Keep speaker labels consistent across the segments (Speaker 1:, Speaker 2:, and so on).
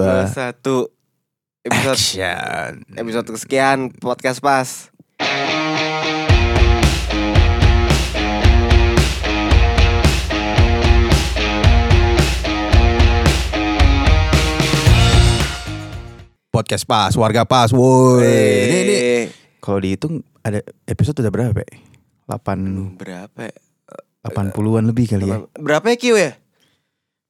Speaker 1: dua, satu. Episode
Speaker 2: Iya. Action.
Speaker 1: episode kesekian podcast pas.
Speaker 2: Podcast pas, warga pas, woi. Ini, ini.
Speaker 1: Eh,
Speaker 2: Kalau dihitung ada episode udah berapa ya? 8
Speaker 1: berapa? Ya?
Speaker 2: 80-an lebih kali ya.
Speaker 1: Berapa ya Kiw ya?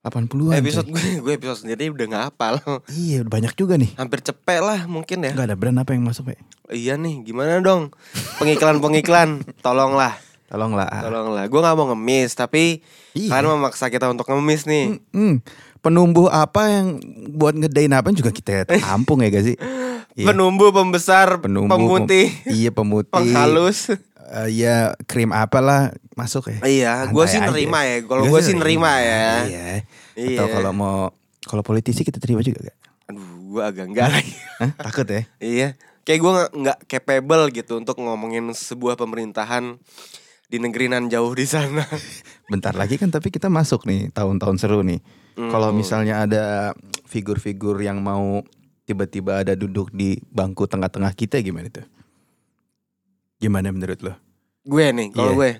Speaker 2: 80-an.
Speaker 1: Episode
Speaker 2: coy.
Speaker 1: gue, gue episode sendiri udah nggak hafal.
Speaker 2: Iya, banyak juga nih.
Speaker 1: Hampir cepet lah mungkin ya.
Speaker 2: Enggak ada brand apa yang masuk, Pak.
Speaker 1: Iya nih, gimana dong? Pengiklan-pengiklan, tolonglah,
Speaker 2: Tolonglah.
Speaker 1: tolonglah. Gue nggak mau ngemis, tapi
Speaker 2: Ah. Iya.
Speaker 1: kalian memaksa kita untuk ngemis nih.
Speaker 2: Hmm, penumbuh apa yang buat ngedain apa juga kita tampung ya gak sih? Iya.
Speaker 1: Penumbu, pembesar,
Speaker 2: Penumbuh,
Speaker 1: pemutih,
Speaker 2: pem- iya pemutih.
Speaker 1: penghalus.
Speaker 2: Eh, ya krim apalah masuk ya.
Speaker 1: Iya,
Speaker 2: Santai
Speaker 1: gue sih
Speaker 2: aja.
Speaker 1: nerima ya. Kalau
Speaker 2: Gua
Speaker 1: gue sih nerima ya.
Speaker 2: Iya.
Speaker 1: Iya.
Speaker 2: Atau kalau mau kalau politisi kita terima juga gak?
Speaker 1: Aduh, gue agak enggak lagi.
Speaker 2: Hah? Takut ya?
Speaker 1: Iya, kayak gue nggak capable gitu untuk ngomongin sebuah pemerintahan di negeri nan jauh di sana.
Speaker 2: Bentar lagi kan tapi kita masuk nih tahun-tahun seru nih. Kalau misalnya ada figur-figur yang mau tiba-tiba ada duduk di bangku tengah-tengah kita gimana tuh? Gimana menurut lo?
Speaker 1: gue nih, kalau
Speaker 2: Iya.
Speaker 1: gue,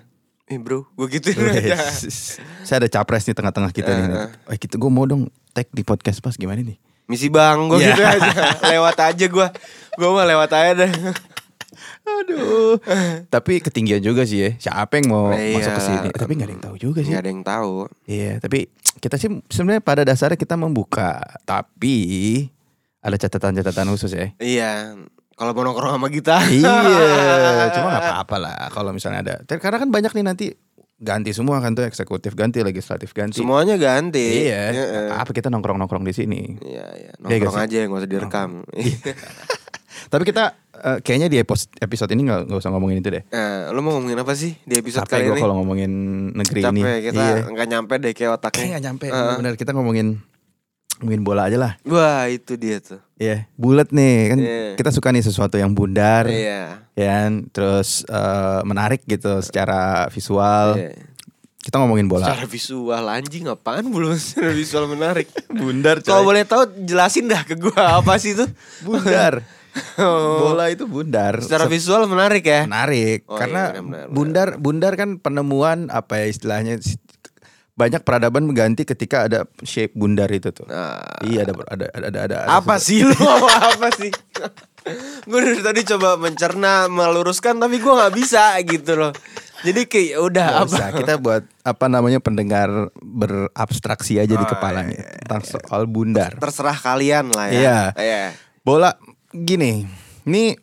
Speaker 1: eh bro, gue gitu aja.
Speaker 2: Saya ada capres nih tengah-tengah kita nih. Ya. Eh kita gue mau dong tag di podcast pas gimana nih?
Speaker 1: Misi bang, gue
Speaker 2: Iya.
Speaker 1: gitu aja. Lewat aja gue, gue mah lewat aja deh.
Speaker 2: Aduh. tapi ketinggian juga sih ya. Siapa yang mau
Speaker 1: Iya
Speaker 2: masuk ke sini?
Speaker 1: lah.
Speaker 2: Tapi nggak ada yang tahu juga sih.
Speaker 1: Gak ada yang tahu.
Speaker 2: Iya, tapi kita sih sebenarnya pada dasarnya kita membuka, tapi ada catatan-catatan khusus ya.
Speaker 1: Iya, kalau mau nongkrong sama kita.
Speaker 2: iya, cuma nggak apa-apa lah kalau misalnya ada. Ter- Karena kan banyak nih nanti ganti semua kan tuh eksekutif ganti, legislatif ganti.
Speaker 1: Semuanya ganti.
Speaker 2: Iya.
Speaker 1: Heeh.
Speaker 2: Apa kita nongkrong-nongkrong di sini?
Speaker 1: Iya, iya.
Speaker 2: Iya gak
Speaker 1: Nongkrong
Speaker 2: sih? Oh.
Speaker 1: aja yang gak usah direkam.
Speaker 2: Tapi kita eh, kayaknya di epos- episode ini nggak nggak usah ngomongin itu deh.
Speaker 1: Nah, lo mau ngomongin apa sih di episode
Speaker 2: Capek
Speaker 1: kali
Speaker 2: gue
Speaker 1: ini?
Speaker 2: kalau ngomongin negeri ini.
Speaker 1: Capek, kita
Speaker 2: Iya.
Speaker 1: nggak nyampe deh kayak
Speaker 2: Kayaknya
Speaker 1: otaknya.
Speaker 2: nggak nyampe.
Speaker 1: Heeh.
Speaker 2: Benar, kita ngomongin ngomongin bola aja lah.
Speaker 1: Wah, itu dia tuh.
Speaker 2: Iya, bulat nih kan.
Speaker 1: Iya.
Speaker 2: Kita suka nih sesuatu yang bundar.
Speaker 1: Iya.
Speaker 2: ya kan? terus eh, menarik gitu secara visual
Speaker 1: Iya.
Speaker 2: kita ngomongin Oh, bola
Speaker 1: Secara visual anjing apaan belum secara visual menarik.
Speaker 2: bundar
Speaker 1: Kalau boleh tahu jelasin dah ke gua apa sih itu?
Speaker 2: bundar
Speaker 1: Oh.
Speaker 2: bola itu bundar
Speaker 1: Secara
Speaker 2: Se-
Speaker 1: visual menarik ya.
Speaker 2: Nah. menarik
Speaker 1: Oh, iya,
Speaker 2: karena
Speaker 1: benar, benar,
Speaker 2: bundar bundar kan penemuan apa ya istilahnya si- banyak peradaban mengganti ketika ada shape bundar itu tuh
Speaker 1: Nah,
Speaker 2: iya ada ada ada ada, ada-
Speaker 1: apa sih lu apa sih? gue dari tadi coba mencerna, meluruskan tapi gua nggak bisa gitu loh. Jadi kayak ya udah
Speaker 2: Nggak
Speaker 1: apa?
Speaker 2: usah, kita buat apa namanya pendengar berabstraksi aja
Speaker 1: Oh,
Speaker 2: di kepalanya
Speaker 1: iya,
Speaker 2: tentang soal bundar
Speaker 1: Terserah kalian lah ya.
Speaker 2: Iya.
Speaker 1: Iya.
Speaker 2: Bola gini, ini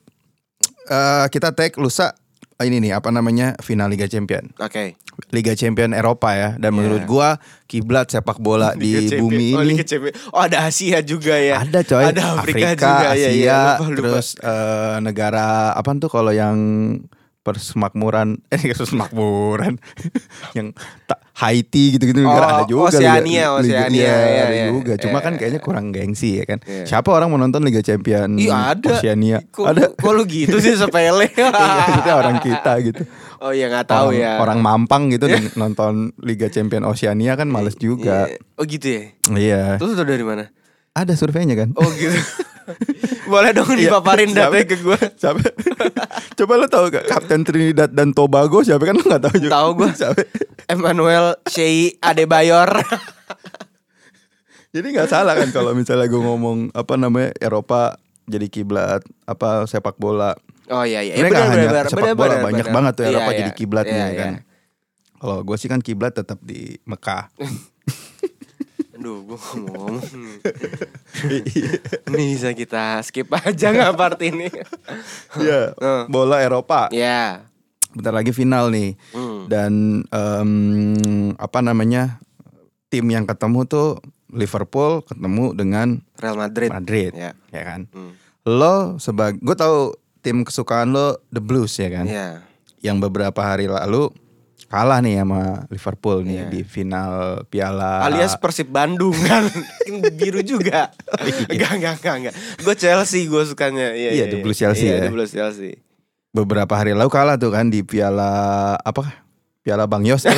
Speaker 2: eh, kita tag lusa ini nih apa namanya final Liga Champion,
Speaker 1: Oke.
Speaker 2: Liga Champion Eropa ya. Dan menurut gua kiblat sepak bola
Speaker 1: Iya.
Speaker 2: di
Speaker 1: Liga Champion-
Speaker 2: bumi
Speaker 1: oh,
Speaker 2: ini
Speaker 1: Liga Champion. Oh, ada Asia juga ya.
Speaker 2: ada coy,
Speaker 1: Ada Afrika,
Speaker 2: Afrika,
Speaker 1: juga ya.
Speaker 2: Asia,
Speaker 1: Iya, lupa, lupa.
Speaker 2: terus eh, negara apa tuh kalau yang persemakmuran eh persemakmuran yang ta- Haiti gitu-gitu
Speaker 1: Oh,
Speaker 2: negara ada juga
Speaker 1: Oceania,
Speaker 2: Liga- Liga-
Speaker 1: Oceania,
Speaker 2: iya,
Speaker 1: iya,
Speaker 2: ada
Speaker 1: iya.
Speaker 2: juga cuma
Speaker 1: Iya.
Speaker 2: kan kayaknya kurang gengsi ya kan
Speaker 1: Iya.
Speaker 2: siapa orang mau nonton Liga Champion
Speaker 1: Iya ada.
Speaker 2: Oceania
Speaker 1: Kok,
Speaker 2: ada
Speaker 1: kok lu gitu sih sepele?
Speaker 2: Iya, maksudnya orang kita gitu.
Speaker 1: oh iya nggak tahu
Speaker 2: orang,
Speaker 1: ya.
Speaker 2: Orang Mampang gitu dan nonton Liga Champion Oceania kan males juga.
Speaker 1: Iya. Oh gitu ya.
Speaker 2: Iya.
Speaker 1: Terus lu tau dari mana?
Speaker 2: Ada surveinya kan?
Speaker 1: Oh gitu. Boleh dong
Speaker 2: Iya.
Speaker 1: dipaparin
Speaker 2: Siapa-
Speaker 1: datanya ke gue.
Speaker 2: Siapa? Coba lo tahu gak Kapten Trinidad dan Tobago siapa kan lo gak tahu juga.
Speaker 1: Tahu gua.
Speaker 2: Siapa?
Speaker 1: Emmanuel Shei Adebayor.
Speaker 2: Jadi nggak salah kan kalau misalnya gue ngomong apa namanya Eropa jadi kiblat apa sepak bola.
Speaker 1: Oh iya iya.
Speaker 2: Sebenarnya nggak
Speaker 1: Benar,
Speaker 2: hanya
Speaker 1: benar,
Speaker 2: sepak
Speaker 1: benar,
Speaker 2: bola
Speaker 1: benar,
Speaker 2: banyak
Speaker 1: benar.
Speaker 2: banget tuh
Speaker 1: Iya,
Speaker 2: Eropa
Speaker 1: iya.
Speaker 2: jadi kiblatnya
Speaker 1: Iya,
Speaker 2: ya
Speaker 1: iya.
Speaker 2: kan. Kalau gue sih kan kiblat tetap di Mekah.
Speaker 1: Aduh, gue ngomong. Ini bisa kita skip aja nggak part ini? Oh,
Speaker 2: Iya.
Speaker 1: Heeh.
Speaker 2: bola Eropa.
Speaker 1: Ya.
Speaker 2: bentar lagi final nih
Speaker 1: Hmm.
Speaker 2: dan em, apa namanya tim yang ketemu tuh Liverpool ketemu dengan
Speaker 1: Real Madrid.
Speaker 2: Madrid
Speaker 1: Ya.
Speaker 2: ya kan
Speaker 1: Hmm.
Speaker 2: lo sebagai gue tahu tim kesukaan lo the Blues ya kan
Speaker 1: Ya.
Speaker 2: yang beberapa hari lalu kalah nih sama Liverpool nih
Speaker 1: Iya.
Speaker 2: di final Piala
Speaker 1: Alias Persib Bandung kan biru juga. Enggak enggak enggak enggak. Gue Chelsea gue sukanya. Iya,
Speaker 2: Iya, The Blues Chelsea
Speaker 1: Iya,
Speaker 2: ya.
Speaker 1: The Blues Chelsea.
Speaker 2: beberapa hari lalu kalah tuh kan di Piala apa Piala Bang Yos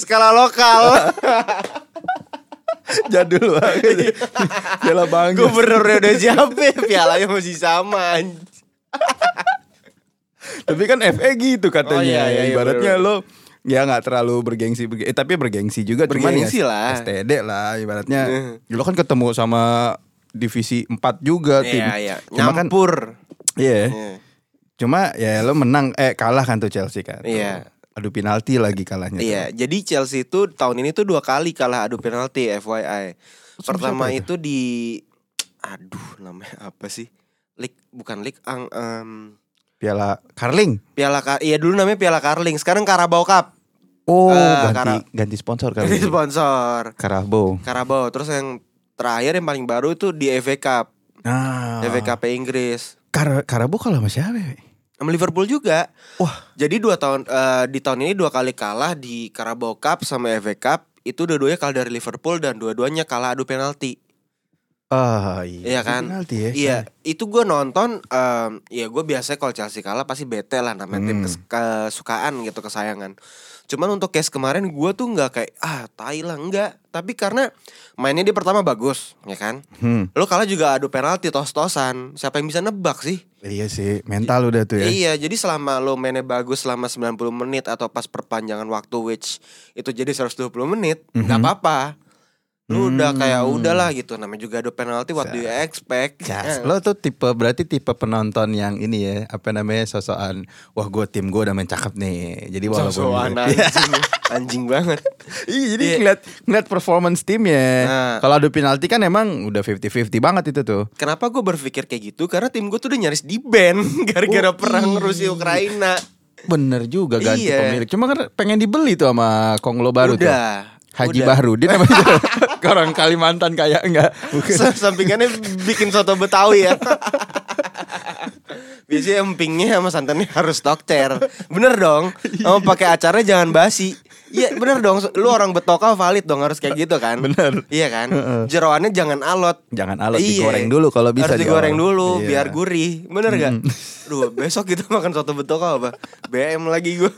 Speaker 1: Skala lokal.
Speaker 2: Jadul
Speaker 1: Iya.
Speaker 2: banget. Piala bangga.
Speaker 1: Gubernurnya udah siapa Pialanya masih sama anj-
Speaker 2: Tapi kan FA gitu katanya.
Speaker 1: Oh, iya, iya, iya,
Speaker 2: Ibaratnya
Speaker 1: bener,
Speaker 2: lo ya nggak terlalu bergengsi, berge- eh, tapi bergengsi juga. cuman
Speaker 1: Bergengsi
Speaker 2: ya
Speaker 1: lah. Iya.
Speaker 2: STD lah. Ibaratnya lo kan ketemu sama divisi 4 juga tim.
Speaker 1: Iya iya
Speaker 2: Cuma kan,
Speaker 1: Nyampur
Speaker 2: iya.
Speaker 1: Iya.
Speaker 2: Cuma ya lo menang, eh kalah kan tuh Chelsea kan. tuh.
Speaker 1: Iya.
Speaker 2: Aduh penalti lagi kalahnya. tuh.
Speaker 1: Iya jadi Chelsea itu tahun ini tuh dua kali kalah adu penalti FYI Pertama
Speaker 2: siapa
Speaker 1: itu di Aduh namanya apa sih League bukan League ang em,
Speaker 2: Piala Carling.
Speaker 1: Piala Ka- iya dulu namanya Piala Karling sekarang Carabao Cup
Speaker 2: Oh,
Speaker 1: Eh, Kara-
Speaker 2: ganti ganti sponsor kali.
Speaker 1: Ini
Speaker 2: ini.
Speaker 1: sponsor
Speaker 2: Karabo.
Speaker 1: Carabao terus yang terakhir yang paling baru itu di FA Cup
Speaker 2: Nah,
Speaker 1: FA Cup Inggris
Speaker 2: Kar- Karabo kalah sama siapa? ya?
Speaker 1: sama Liverpool juga.
Speaker 2: Wah.
Speaker 1: Jadi dua tahun eh, di tahun ini dua kali kalah di Carabao Cup sama FA Cup itu dua-duanya kalah dari Liverpool dan dua-duanya kalah adu penalti.
Speaker 2: Ah,
Speaker 1: Iya kan?
Speaker 2: Penalti ya.
Speaker 1: Iya, itu gue nonton em, ya gue biasanya kalau Chelsea kalah pasti bete lah namanya tim
Speaker 2: Hmm.
Speaker 1: kes- kesukaan gitu kesayangan. Cuman untuk case kemarin gue tuh nggak kayak ah tai lah enggak, tapi karena mainnya dia pertama bagus, ya kan?
Speaker 2: Hmm.
Speaker 1: Lo kalah juga adu penalti tos-tosan. Siapa yang bisa nebak sih?
Speaker 2: Iya sih, mental udah tuh ya.
Speaker 1: Iya, jadi selama lo mainnya bagus selama 90 menit atau pas perpanjangan waktu which itu jadi 120 menit, nggak
Speaker 2: Mhm.
Speaker 1: apa-apa. Lu udah
Speaker 2: Hmm.
Speaker 1: kayak udahlah gitu namanya juga ada penalti what do you expect?
Speaker 2: Jas,
Speaker 1: Eh,
Speaker 2: lo tuh tipe berarti tipe penonton yang ini ya, apa namanya sosokan. Wah, gue tim gue udah main cakep nih. Jadi walaupun gitu. Iya.
Speaker 1: sosokan
Speaker 2: gue-
Speaker 1: anjing, anjing banget.
Speaker 2: Iya, jadi
Speaker 1: Iya.
Speaker 2: ngeliat ngeliat performance tim ya.
Speaker 1: Nah.
Speaker 2: Kalau adu penalti kan emang udah 50-50 banget itu tuh.
Speaker 1: Kenapa gue berpikir kayak gitu? Karena tim gue tuh udah nyaris di ban gara-gara
Speaker 2: Oh,
Speaker 1: perang
Speaker 2: iya.
Speaker 1: Rusia Ukraina.
Speaker 2: Bener juga ganti
Speaker 1: Iya.
Speaker 2: pemilik. Cuma kan pengen dibeli tuh sama Konglo baru tuh.
Speaker 1: udah.
Speaker 2: Haji
Speaker 1: udah.
Speaker 2: Bahrudin apa itu? Orang Kalimantan kayak enggak. Bukan.
Speaker 1: Sa- Sampingannya bikin soto Betawi ya. Biasanya empingnya sama santannya harus dokter. Bener dong.
Speaker 2: Iya.
Speaker 1: Mau pakai acaranya jangan basi. Iya bener dong. Lu orang betoka valid dong harus kayak gitu kan.
Speaker 2: Bener.
Speaker 1: Iya kan. Jeroannya jangan alot.
Speaker 2: Jangan alot,
Speaker 1: Iya.
Speaker 2: digoreng dulu kalau bisa
Speaker 1: Harus
Speaker 2: di
Speaker 1: digoreng
Speaker 2: awal.
Speaker 1: dulu
Speaker 2: Iya. Hmm.
Speaker 1: biar gurih. Bener gak? Duh besok kita makan soto betoka apa? BM lagi gue.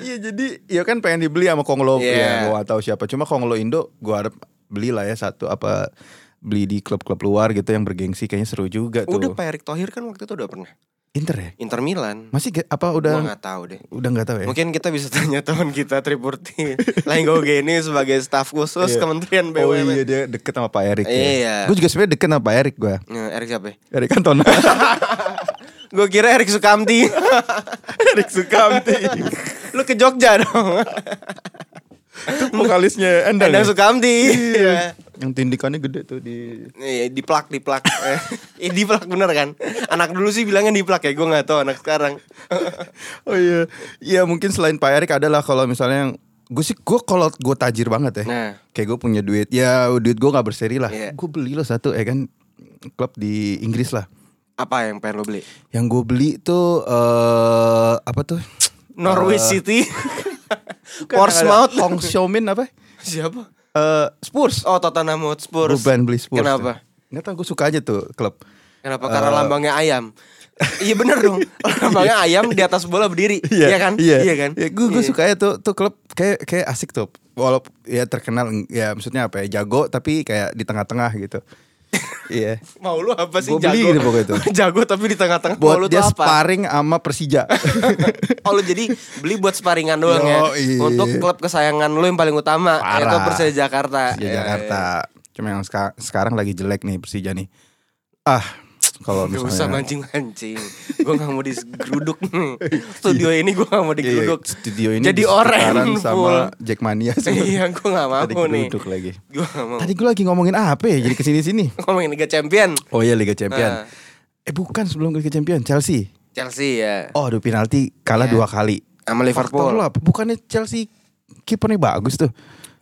Speaker 2: Iya jadi ya kan pengen dibeli sama Konglo
Speaker 1: Iya.
Speaker 2: ya gua gak tahu siapa. Cuma Konglo Indo gua harap beli lah ya satu apa beli di klub-klub luar gitu yang bergengsi kayaknya seru juga tuh.
Speaker 1: udah Pak Erick Thohir kan waktu itu udah pernah.
Speaker 2: Inter ya?
Speaker 1: Inter Milan.
Speaker 2: Masih ge- apa
Speaker 1: Gue
Speaker 2: udah
Speaker 1: gak tahu deh.
Speaker 2: udah nggak tahu ya?
Speaker 1: Mungkin kita bisa tanya teman kita Tripurti Lenggogeni sebagai staf khusus
Speaker 2: Iya.
Speaker 1: Kementerian BUMN.
Speaker 2: Oh iya dia deket sama Pak Erik
Speaker 1: Iya.
Speaker 2: ya. Gue juga sebenarnya deket sama Pak Erik gua.
Speaker 1: Nah, Erik siapa? ya?
Speaker 2: Erik Cantona.
Speaker 1: Gue kira Erik Sukamti.
Speaker 2: Erik Sukamti.
Speaker 1: Lu ke Jogja dong.
Speaker 2: Vokalisnya Endang.
Speaker 1: Endang
Speaker 2: ya?
Speaker 1: Sukamti. Iya.
Speaker 2: Yang tindikannya gede tuh di
Speaker 1: Iya, diplak, diplak. Eh, eh, diplak bener kan? Anak dulu sih bilangnya diplak ya, gue nggak tahu anak sekarang.
Speaker 2: Oh iya, iya mungkin selain Pak Erik adalah kalau misalnya yang gue sih gue kalau gue tajir banget ya,
Speaker 1: Nah.
Speaker 2: kayak gue punya duit, ya duit gue nggak berseri lah,
Speaker 1: Iya.
Speaker 2: gue beli lah satu ya kan klub di Inggris lah,
Speaker 1: Apa yang pengen lo beli?
Speaker 2: yang gue beli tuh eh apa tuh?
Speaker 1: Norwich City.
Speaker 2: Eh. Bukan,
Speaker 1: Portsmouth.
Speaker 2: ada Hong Xiaomin apa?
Speaker 1: Siapa?
Speaker 2: Eh Spurs.
Speaker 1: Oh, Tottenham Hotspur.
Speaker 2: Gue pengen beli Spurs. ya.
Speaker 1: Kenapa?
Speaker 2: Nggak tau gue suka aja tuh klub.
Speaker 1: Kenapa? Karena lambangnya ayam. Eh. iya bener dong. Lambangnya ayam di atas bola berdiri. Iya, kan?
Speaker 2: Iya,
Speaker 1: kan?
Speaker 2: Ya, gue gue
Speaker 1: Iya.
Speaker 2: suka ya tuh tuh klub kayak kayak asik tuh. Walaupun ya terkenal ya maksudnya apa ya jago tapi kayak di tengah-tengah gitu. Iya.
Speaker 1: Mau lu apa sih
Speaker 2: Gua beli
Speaker 1: jago?
Speaker 2: gitu pokoknya itu.
Speaker 1: jago tapi di tengah-tengah mau lu
Speaker 2: Buat dia
Speaker 1: tuh apa?
Speaker 2: sparring sama Persija.
Speaker 1: Oh lu jadi beli buat sparingan doang ya.
Speaker 2: Yoi.
Speaker 1: Untuk klub kesayangan lu yang paling utama
Speaker 2: Parah.
Speaker 1: yaitu Persija Jakarta.
Speaker 2: Persija
Speaker 1: Iya,
Speaker 2: Jakarta. Cuma yang seka- sekarang lagi jelek nih Persija nih. Ah, kalau
Speaker 1: iya. Gak usah
Speaker 2: misalnya
Speaker 1: mancing-mancing Gue gak mau digeruduk Studio ini gue gak mau
Speaker 2: Iya,
Speaker 1: digeruduk
Speaker 2: studio ini
Speaker 1: Jadi
Speaker 2: seputaran
Speaker 1: oren
Speaker 2: sama Jackmania semua.
Speaker 1: Iya gue gak mau
Speaker 2: Tadi
Speaker 1: nih
Speaker 2: duduk lagi.
Speaker 1: Gue gak mau
Speaker 2: Tadi gue lagi ngomongin apa ya jadi kesini sini.
Speaker 1: Ngomongin Liga Champion
Speaker 2: Oh iya Liga
Speaker 1: Ah.
Speaker 2: Champion. Eh bukan sebelum Liga Champion Chelsea.
Speaker 1: Chelsea ya
Speaker 2: Oh, adu penalti kalah dua kali.
Speaker 1: Sama
Speaker 2: Faktor
Speaker 1: Iya. Liverpool
Speaker 2: lu apa? Bukannya Chelsea kipernya bagus tuh.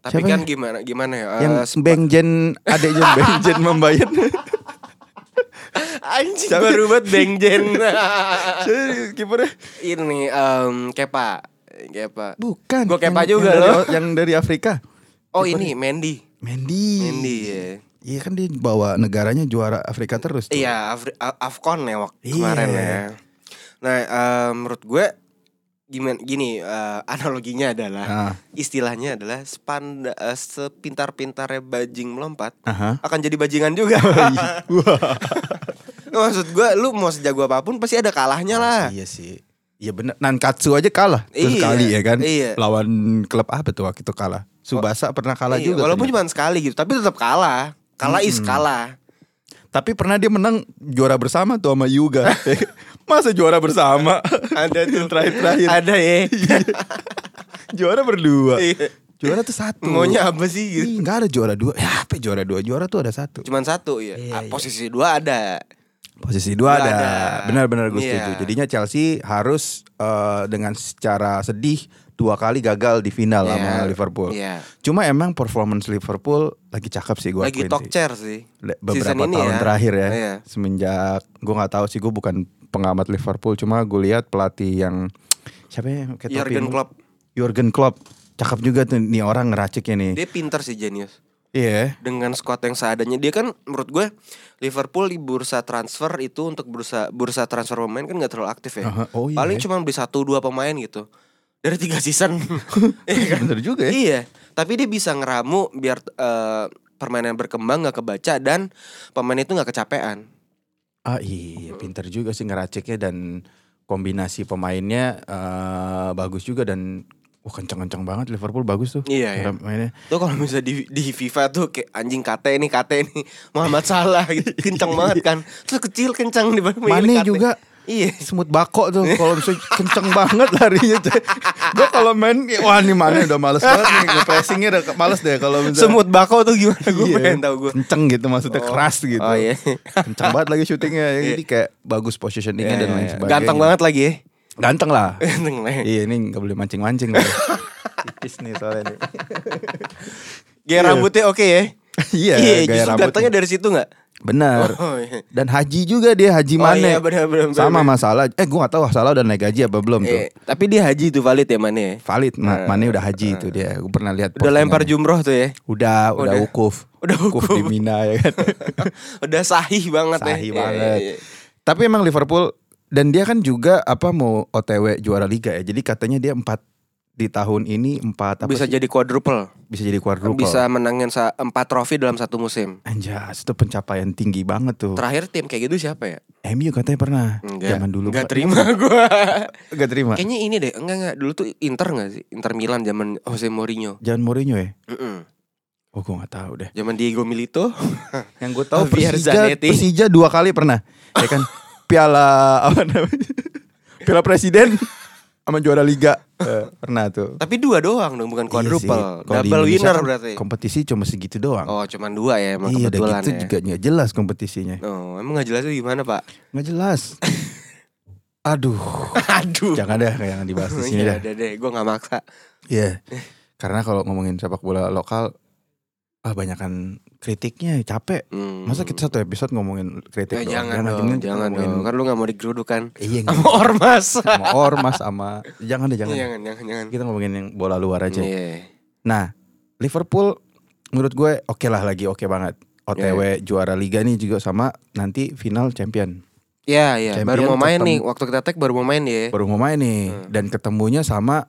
Speaker 1: Tapi
Speaker 2: Siapa
Speaker 1: kan
Speaker 2: ya?
Speaker 1: gimana gimana ya?
Speaker 2: yang
Speaker 1: eh, sep-
Speaker 2: Bengjen adeknya Bengjen membayar.
Speaker 1: anjing
Speaker 2: siapa?
Speaker 1: baru buat Bengjen.
Speaker 2: Jadi kipernya
Speaker 1: Ini em Kepa. Kepa.
Speaker 2: bukan.
Speaker 1: Gua kepa
Speaker 2: Yang-
Speaker 1: juga
Speaker 2: yang dari-
Speaker 1: loh.
Speaker 2: Yang dari Afrika.
Speaker 1: Oh ini Mendy.
Speaker 2: Mendy.
Speaker 1: Mendy ya.
Speaker 2: Iya kan dia bawa negaranya juara Afrika terus. tuh.
Speaker 1: Iya, Afri- A- Afcon ya waktu
Speaker 2: Iya.
Speaker 1: kemarin ya. Nah, em, menurut gue gimana gini eh, analoginya
Speaker 2: Ah.
Speaker 1: adalah istilahnya adalah sepanda eh, sepintar-pintarnya bajing melompat
Speaker 2: Aha. Oh, iya.
Speaker 1: akan jadi bajingan juga. Nggak, Maksud gua lu mau sejago apapun pasti ada kalahnya lah.
Speaker 2: Iya sih. Iya bener. Nankatsu aja kalah.
Speaker 1: Ah.
Speaker 2: Terus
Speaker 1: Iya,
Speaker 2: kali ya kan.
Speaker 1: iya.
Speaker 2: Lawan klub apa tuh waktu itu kalah. Subasa pernah kalah
Speaker 1: Iya,
Speaker 2: juga.
Speaker 1: walaupun
Speaker 2: ternyata. Hmm.
Speaker 1: cuma sekali gitu, tapi tetap kalah. Kalah is kalah.
Speaker 2: Tapi pernah dia menang juara bersama tuh sama Yuga. Masa juara bersama?
Speaker 1: Ada tuh.
Speaker 2: Terakhir-terakhir.
Speaker 1: Ada ya.
Speaker 2: Iya. juara berdua.
Speaker 1: Iya.
Speaker 2: juara tuh satu.
Speaker 1: Maunya apa sih gitu?
Speaker 2: Ih, nggak ada juara dua. Ya, apa juara dua? Juara tuh ada satu.
Speaker 1: Cuman satu ya.
Speaker 2: Iya,
Speaker 1: Ah,
Speaker 2: iya.
Speaker 1: Posisi dua ada.
Speaker 2: Posisi dua
Speaker 1: Dua
Speaker 2: ada.
Speaker 1: ada.
Speaker 2: Benar-benar gue
Speaker 1: Iya.
Speaker 2: setuju. Jadinya Chelsea harus eh, dengan secara sedih dua kali gagal di final
Speaker 1: Iya.
Speaker 2: sama Liverpool.
Speaker 1: Iya.
Speaker 2: Cuma emang performance Liverpool lagi cakep sih gue
Speaker 1: Lagi talk chair sih.
Speaker 2: Beberapa
Speaker 1: Season ini
Speaker 2: tahun
Speaker 1: ya.
Speaker 2: terakhir ya.
Speaker 1: Iya.
Speaker 2: Semenjak gue nggak tahu sih gue bukan pengamat Liverpool. Cuma gue lihat pelatih yang siapa ya? Kayak
Speaker 1: Jurgen
Speaker 2: topimu.
Speaker 1: Klopp.
Speaker 2: Jurgen Klopp. Cakep juga tuh nih orang ngeraciknya nih.
Speaker 1: Dia pinter sih jenius.
Speaker 2: Iya.
Speaker 1: Dengan skuad yang seadanya dia kan menurut gue Liverpool di bursa transfer itu untuk bursa bursa transfer pemain kan nggak terlalu aktif ya.
Speaker 2: Aha, oh iya
Speaker 1: Paling
Speaker 2: ya.
Speaker 1: cuma beli satu dua pemain gitu. Dari tiga season. Iya kan?
Speaker 2: Bener juga ya.
Speaker 1: Iya, tapi dia bisa ngeramu biar eh, permainan berkembang nggak kebaca dan pemain itu nggak kecapean.
Speaker 2: Ah iya, pinter juga sih ngeraciknya dan kombinasi pemainnya eh, bagus juga dan wah kencang-kencang banget Liverpool bagus tuh.
Speaker 1: Iya,
Speaker 2: cara mainnya.
Speaker 1: Tuh kalau misalnya di, di FIFA tuh kayak anjing kate ini kate ini Muhammad Salah gitu kencang banget kan. Terus kecil kencang di bawah
Speaker 2: Mane
Speaker 1: Kate.
Speaker 2: juga.
Speaker 1: Iya.
Speaker 2: Semut bako tuh kalau misalnya kenceng banget larinya. Gue kalau main wah nih Mane udah males banget nih pressingnya udah males deh kalau misalnya
Speaker 1: Semut bako tuh gimana gue
Speaker 2: Iya,
Speaker 1: pengen tahu gue.
Speaker 2: Kenceng gitu maksudnya keras gitu.
Speaker 1: Oh iya.
Speaker 2: Kenceng banget lagi syutingnya. Jadi kayak bagus positioningnya dan lain sebagainya.
Speaker 1: Iya, Ganteng banget lagi ya.
Speaker 2: Ganteng lah.
Speaker 1: Ganteng banget.
Speaker 2: Iya ini nggak boleh mancing-mancing kali. Tipis nih soalnya nih.
Speaker 1: Gaya rambutnya oke ya.
Speaker 2: Iya, gaya
Speaker 1: justru
Speaker 2: rambutnya.
Speaker 1: datangnya dari situ nggak?
Speaker 2: Benar.
Speaker 1: Oh, iya.
Speaker 2: Dan haji juga dia haji
Speaker 1: Oh,
Speaker 2: mana?
Speaker 1: iya, benar, benar, benar.
Speaker 2: Sama masalah. Eh gua nggak tahu salah udah naik gaji apa belum tuh.
Speaker 1: Eh, tapi dia haji itu valid ya Mane ya.
Speaker 2: Valid ma- Mane udah haji itu dia. Gua pernah lihat.
Speaker 1: eh. Udah lempar
Speaker 2: postingannya.
Speaker 1: jumroh tuh ya.
Speaker 2: Udah, udah
Speaker 1: Udah.
Speaker 2: wukuf.
Speaker 1: Udah wukuf.
Speaker 2: di Mina ya kan.
Speaker 1: Udah sahih banget ya.
Speaker 2: Sahih
Speaker 1: Iya,
Speaker 2: banget.
Speaker 1: iya, iya.
Speaker 2: Tapi emang Liverpool dan dia kan juga apa mau OTW juara liga ya. Jadi katanya dia empat di tahun ini empat apa
Speaker 1: Bisa
Speaker 2: sih?
Speaker 1: jadi quadruple.
Speaker 2: bisa jadi quadruple.
Speaker 1: Bisa menangin sa- empat trofi dalam satu musim.
Speaker 2: Anjas, itu pencapaian tinggi banget tuh.
Speaker 1: Terakhir tim kayak gitu siapa ya?
Speaker 2: MU katanya pernah. Zaman dulu.
Speaker 1: Enggak
Speaker 2: Pak.
Speaker 1: terima gua.
Speaker 2: Nggak terima.
Speaker 1: Kayaknya ini deh, enggak enggak dulu tuh Inter enggak sih? Inter Milan zaman Jose Mourinho.
Speaker 2: Jangan Mourinho ya?
Speaker 1: Mm-mm.
Speaker 2: Oh gue gak tahu deh
Speaker 1: Zaman Diego Milito.
Speaker 2: Yang gue tahu
Speaker 1: Javier
Speaker 2: Ah, Persija
Speaker 1: Zanetti.
Speaker 2: Persija dua kali pernah Ya kan Piala Apa namanya Piala Presiden Sama juara Liga Eh, Pernah tuh
Speaker 1: Tapi dua doang dong, bukan quadruple.
Speaker 2: Iya sih. Kalau di
Speaker 1: Double
Speaker 2: Indonesia
Speaker 1: winner
Speaker 2: kan
Speaker 1: berarti.
Speaker 2: Kompetisi cuma segitu doang
Speaker 1: Oh, cuman dua ya emang
Speaker 2: Iya udah
Speaker 1: kebetulan
Speaker 2: gitu
Speaker 1: ya.
Speaker 2: juga gak jelas kompetisinya
Speaker 1: Oh, emang gak jelas itu gimana, Pak?
Speaker 2: Gak jelas Aduh
Speaker 1: Aduh.
Speaker 2: Jangan dah Jangan dibahas di sini
Speaker 1: Ya
Speaker 2: dah
Speaker 1: udah deh, gua gak maksa.
Speaker 2: Iya Karena kalau ngomongin sepak bola lokal Ah banyakan kritiknya capek
Speaker 1: Hmm.
Speaker 2: Masa kita satu episode ngomongin kritik
Speaker 1: Ya,
Speaker 2: doang?
Speaker 1: jangan
Speaker 2: Jangan,
Speaker 1: dong,
Speaker 2: mendingan kita
Speaker 1: jangan
Speaker 2: ngomongin-
Speaker 1: dong. Kan lu gak mau digeruduk kan.
Speaker 2: Iya
Speaker 1: Sama ormas. Iya,
Speaker 2: sama ormas sama jangan deh jangan.
Speaker 1: Jangan, jangan, jangan.
Speaker 2: Kita ngomongin yang bola luar aja.
Speaker 1: Iya.
Speaker 2: Nah, Liverpool menurut gue oke lah lagi oke banget. OTW juara liga nih juga sama nanti final champion.
Speaker 1: Iya, iya. Baru
Speaker 2: Champion
Speaker 1: mau main
Speaker 2: ketemu-
Speaker 1: nih. Waktu kita tag baru mau main ya.
Speaker 2: Baru mau main nih dan ketemunya sama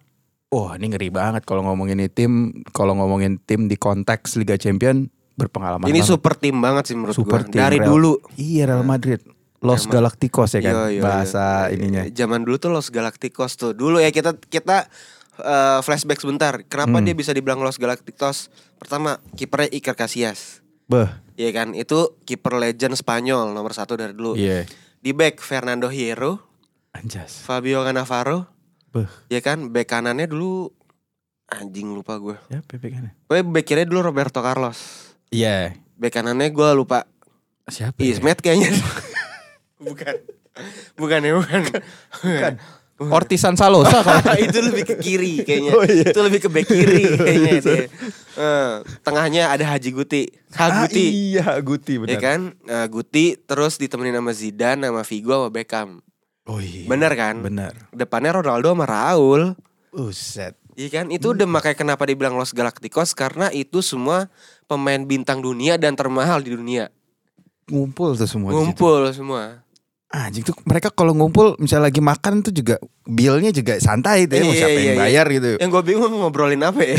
Speaker 2: Wah ini ngeri banget kalau ngomongin ini tim Kalau ngomongin tim di konteks Liga Champion Berpengalaman
Speaker 1: Ini
Speaker 2: banget.
Speaker 1: super tim banget sih menurut
Speaker 2: Super
Speaker 1: gua.
Speaker 2: tim,
Speaker 1: Dari
Speaker 2: Real.
Speaker 1: dulu.
Speaker 2: Iya Real Madrid Los Galacticos ya kan
Speaker 1: Iya, iya,
Speaker 2: Bahasa
Speaker 1: iya.
Speaker 2: ininya
Speaker 1: Zaman dulu tuh Los Galacticos tuh. Dulu ya kita kita eh, flashback sebentar.
Speaker 2: Hmm.
Speaker 1: Kenapa dia bisa dibilang Los Galacticos? Pertama, kipernya Iker Casillas.
Speaker 2: Beh
Speaker 1: Iya kan? Itu kiper legend Spanyol nomor satu dari dulu.
Speaker 2: Iya
Speaker 1: Di back Fernando Hierro,
Speaker 2: Anjas
Speaker 1: Fabio Cannavaro,
Speaker 2: Beh
Speaker 1: ya kan? Back kanannya dulu anjing lupa gue.
Speaker 2: Ya pepekannya
Speaker 1: Gue back kirinya dulu Roberto Carlos.
Speaker 2: Iya
Speaker 1: Back kanannya gue lupa
Speaker 2: Siapa ya?
Speaker 1: Ismet kayaknya Bukan Bukan ya bukan, bukan.
Speaker 2: Ortisan Salosa kalau
Speaker 1: itu lebih ke kiri kayaknya
Speaker 2: Oh, iya.
Speaker 1: Itu lebih ke back kiri kayaknya dia. Eh, Tengahnya ada Haji Guti
Speaker 2: Ah,
Speaker 1: Haguti
Speaker 2: iya Guti benar.
Speaker 1: Ya kan Eh, Guti terus ditemenin sama Zidane Sama Figo sama Beckham
Speaker 2: Oh iya.
Speaker 1: Bener kan?
Speaker 2: Benar.
Speaker 1: Depannya Ronaldo sama Raul
Speaker 2: Uset.
Speaker 1: Iya kan itu
Speaker 2: Hmm.
Speaker 1: udah makanya kenapa dibilang Los Galacticos Karena itu semua pemain bintang dunia dan termahal di dunia
Speaker 2: Ngumpul tuh semua di situ.
Speaker 1: Ngumpul semua
Speaker 2: Anjing tuh mereka kalau ngumpul misalnya lagi makan tuh juga billnya juga santai tuh ya, mau
Speaker 1: Iya,
Speaker 2: siapa
Speaker 1: iya,
Speaker 2: yang
Speaker 1: iya.
Speaker 2: bayar gitu.
Speaker 1: Yang gue bingung ngobrolin apa ya.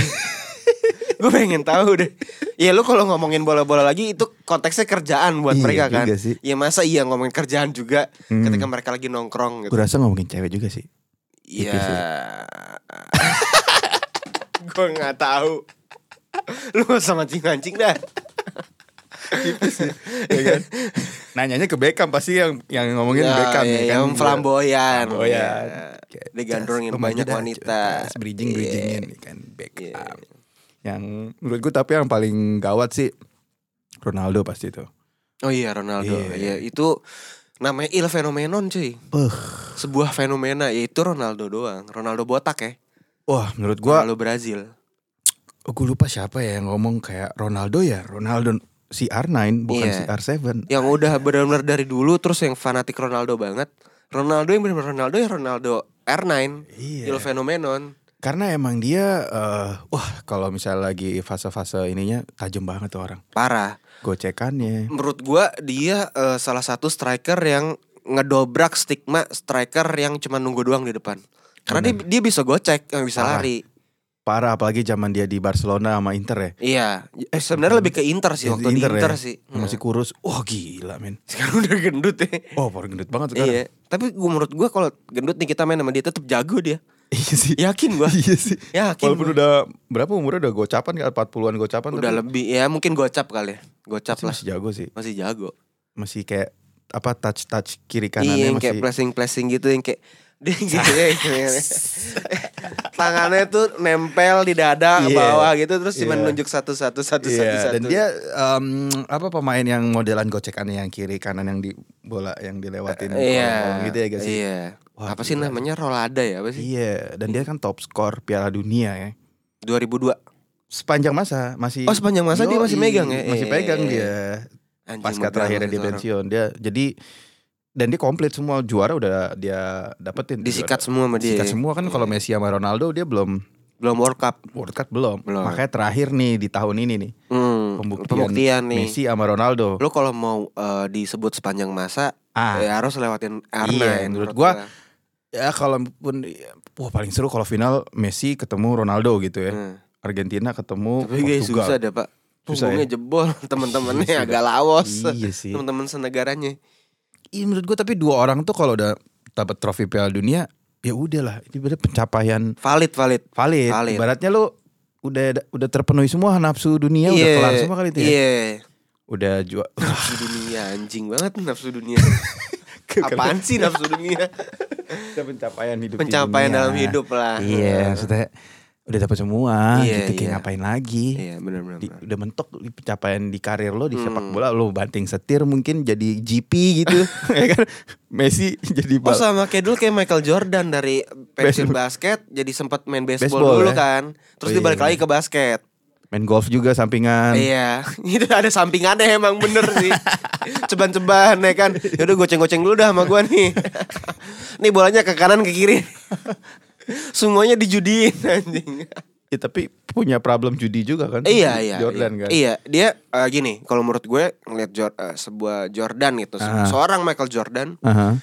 Speaker 1: gue pengen tahu deh. Ya lu kalau ngomongin bola-bola lagi itu konteksnya kerjaan buat
Speaker 2: Iya
Speaker 1: mereka kan.
Speaker 2: juga sih. Hmm.
Speaker 1: Ya masa iya ngomongin kerjaan juga ketika mereka lagi nongkrong gitu.
Speaker 2: Gue rasa ngomongin cewek juga sih. tipis ya.
Speaker 1: Iya. gue nggak tahu. Lu gak usah mancing-mancing dah.
Speaker 2: ya kan? Nanyanya ke Beckham pasti yang yang ngomongin
Speaker 1: Ya,
Speaker 2: Beckham
Speaker 1: Iya iya,
Speaker 2: ya kan.
Speaker 1: Yang flamboyan.
Speaker 2: Oh ya.
Speaker 1: Iya. Digandrungin banyak wanita.
Speaker 2: Bridging
Speaker 1: Iya.
Speaker 2: bridgingin kan Beckham. Yang menurut gue tapi yang paling gawat sih Ronaldo pasti itu.
Speaker 1: Oh iya Ronaldo.
Speaker 2: Iya.
Speaker 1: Iya, itu namanya il fenomenon cuy. Sebuah fenomena yaitu Ronaldo doang. Ronaldo botak ya.
Speaker 2: Wah, menurut gua
Speaker 1: Ronaldo Brazil.
Speaker 2: gue lupa siapa ya yang ngomong kayak Ronaldo ya, Ronaldo CR9 bukan
Speaker 1: Iya.
Speaker 2: CR7.
Speaker 1: Yang udah benar-benar dari dulu terus yang fanatik Ronaldo banget. Ronaldo yang benar-benar Ronaldo ya Ronaldo R9.
Speaker 2: Iya.
Speaker 1: Il fenomenon.
Speaker 2: Karena emang dia eh, wah kalau misalnya lagi fase-fase ininya tajam banget tuh orang.
Speaker 1: Parah.
Speaker 2: Gocekannya.
Speaker 1: Menurut gua dia eh, salah satu striker yang ngedobrak stigma striker yang cuma nunggu doang di depan. Karena dia, dia bisa gocek, eh, bisa
Speaker 2: Parah.
Speaker 1: lari.
Speaker 2: Parah apalagi zaman dia di Barcelona sama Inter ya.
Speaker 1: Iya, eh, sebenarnya lebih ke Inter sih waktu di
Speaker 2: Inter ya?
Speaker 1: Inter sih. Hmm.
Speaker 2: Yang Masih kurus. Wah, gila men.
Speaker 1: Sekarang udah gendut ya.
Speaker 2: Oh, baru gendut banget sekarang.
Speaker 1: Iya, tapi gua, menurut gua kalau gendut nih kita main sama dia tetap jago dia.
Speaker 2: Iya sih.
Speaker 1: Yakin gua.
Speaker 2: Iya sih.
Speaker 1: Yakin
Speaker 2: Walaupun
Speaker 1: gua.
Speaker 2: udah berapa umurnya udah gocapan kan 40-an gocapan
Speaker 1: udah
Speaker 2: tapi
Speaker 1: lebih ya mungkin gocap kali ya. Gocap
Speaker 2: masih,
Speaker 1: lah.
Speaker 2: masih jago sih.
Speaker 1: Masih jago.
Speaker 2: Masih kayak apa touch-touch kiri kanannya
Speaker 1: Iya, yang
Speaker 2: masih
Speaker 1: kayak pressing-pressing gitu yang kayak dia gitu ya. Tangannya tuh nempel di dada
Speaker 2: Iya.
Speaker 1: bawah gitu terus cuma
Speaker 2: Iya.
Speaker 1: nunjuk satu-satu satu-satu
Speaker 2: Iya,
Speaker 1: satu.
Speaker 2: dan dia em, apa pemain yang modelan gocekannya yang kiri kanan yang di bola yang dilewatin kolong-kolong
Speaker 1: Iya.
Speaker 2: gitu ya guys. sih?
Speaker 1: Iya.
Speaker 2: Wah,
Speaker 1: apa sih
Speaker 2: gila.
Speaker 1: namanya Rolada ya apa sih?
Speaker 2: Iya, dan dia kan top skor Piala Dunia ya.
Speaker 1: 2002.
Speaker 2: Sepanjang masa masih
Speaker 1: Oh, sepanjang masa dia masih
Speaker 2: Iya. Yoi,
Speaker 1: megang ya?
Speaker 2: Masih
Speaker 1: Iya,
Speaker 2: pegang
Speaker 1: iya, iya.
Speaker 2: dia.
Speaker 1: Anjing,
Speaker 2: Pasca
Speaker 1: gua bilang
Speaker 2: terakhirnya
Speaker 1: itu
Speaker 2: dia
Speaker 1: orang.
Speaker 2: pensiun dia. Jadi dan dia komplit semua juara udah dia dapetin.
Speaker 1: Disikat
Speaker 2: Juara.
Speaker 1: semua sama dia. ya? Iya.
Speaker 2: Disikat semua kan kalau Messi sama Ronaldo dia belum
Speaker 1: Belum World Cup.
Speaker 2: World Cup belum.
Speaker 1: Belum.
Speaker 2: Makanya terakhir nih di tahun ini nih
Speaker 1: Hmm,
Speaker 2: pembuktian,
Speaker 1: pembuktian nih.
Speaker 2: Messi sama Ronaldo.
Speaker 1: Lo kalau mau eh, disebut sepanjang masa
Speaker 2: Ah.
Speaker 1: ya harus lewatin R9
Speaker 2: Iya, menurut gua, Ya kalaupun wah paling seru kalau final Messi ketemu Ronaldo gitu ya.
Speaker 1: Hmm.
Speaker 2: Argentina ketemu
Speaker 1: Tapi guys
Speaker 2: Portugal.
Speaker 1: susah deh pak
Speaker 2: Susah ya.
Speaker 1: Punggungnya jebol
Speaker 2: Iya
Speaker 1: Temen-temennya
Speaker 2: sih,
Speaker 1: agak lawas
Speaker 2: Iya sih.
Speaker 1: Temen-temen senegaranya
Speaker 2: Iya, menurut gua tapi dua orang tuh kalau udah dapat trofi Piala Dunia ya udahlah ini bener pencapaian
Speaker 1: Valid valid
Speaker 2: valid.
Speaker 1: Valid.
Speaker 2: Ibaratnya lu udah udah terpenuhi semua nafsu dunia Iya, udah kelar semua kali itu ya.
Speaker 1: Iya
Speaker 2: Udah jual
Speaker 1: Nafsu dunia anjing banget nafsu dunia Apaan sih nafsu dunia
Speaker 2: udah pencapaian hidup di
Speaker 1: Pencapaian
Speaker 2: dunia.
Speaker 1: dalam hidup lah
Speaker 2: Iya, maksudnya udah dapat semua
Speaker 1: Iya,
Speaker 2: gitu kayak
Speaker 1: iya.
Speaker 2: ngapain lagi.
Speaker 1: Iya benar-benar
Speaker 2: Di- udah mentok di pencapaian di karir lo di sepak
Speaker 1: Hmm.
Speaker 2: bola lo banting setir mungkin jadi GP gitu ya kan Messi jadi
Speaker 1: Oh
Speaker 2: bal
Speaker 1: sama kayak dulu kayak Michael Jordan dari pensiun
Speaker 2: Baseball.
Speaker 1: basket jadi sempat main baseball,
Speaker 2: Baseball,
Speaker 1: dulu
Speaker 2: ya?
Speaker 1: kan, terus
Speaker 2: Oh,
Speaker 1: dia balik
Speaker 2: iya.
Speaker 1: lagi ke basket.
Speaker 2: main golf juga sampingan
Speaker 1: Iya, itu ada sampingannya emang bener sih. Ceban-ceban ya kan. Yaudah goceng-goceng dulu dah sama gua nih. nih bolanya ke kanan ke kiri. Semuanya dijudiin anjing.
Speaker 2: Ya, tapi punya problem judi juga kan
Speaker 1: iya, iya. iya.
Speaker 2: Jordan kan
Speaker 1: Iya, dia eh, gini, kalau menurut gue ngeliat Jor- eh, sebuah Jordan gitu, se-
Speaker 2: Ah.
Speaker 1: seorang Michael Jordan,
Speaker 2: Aha,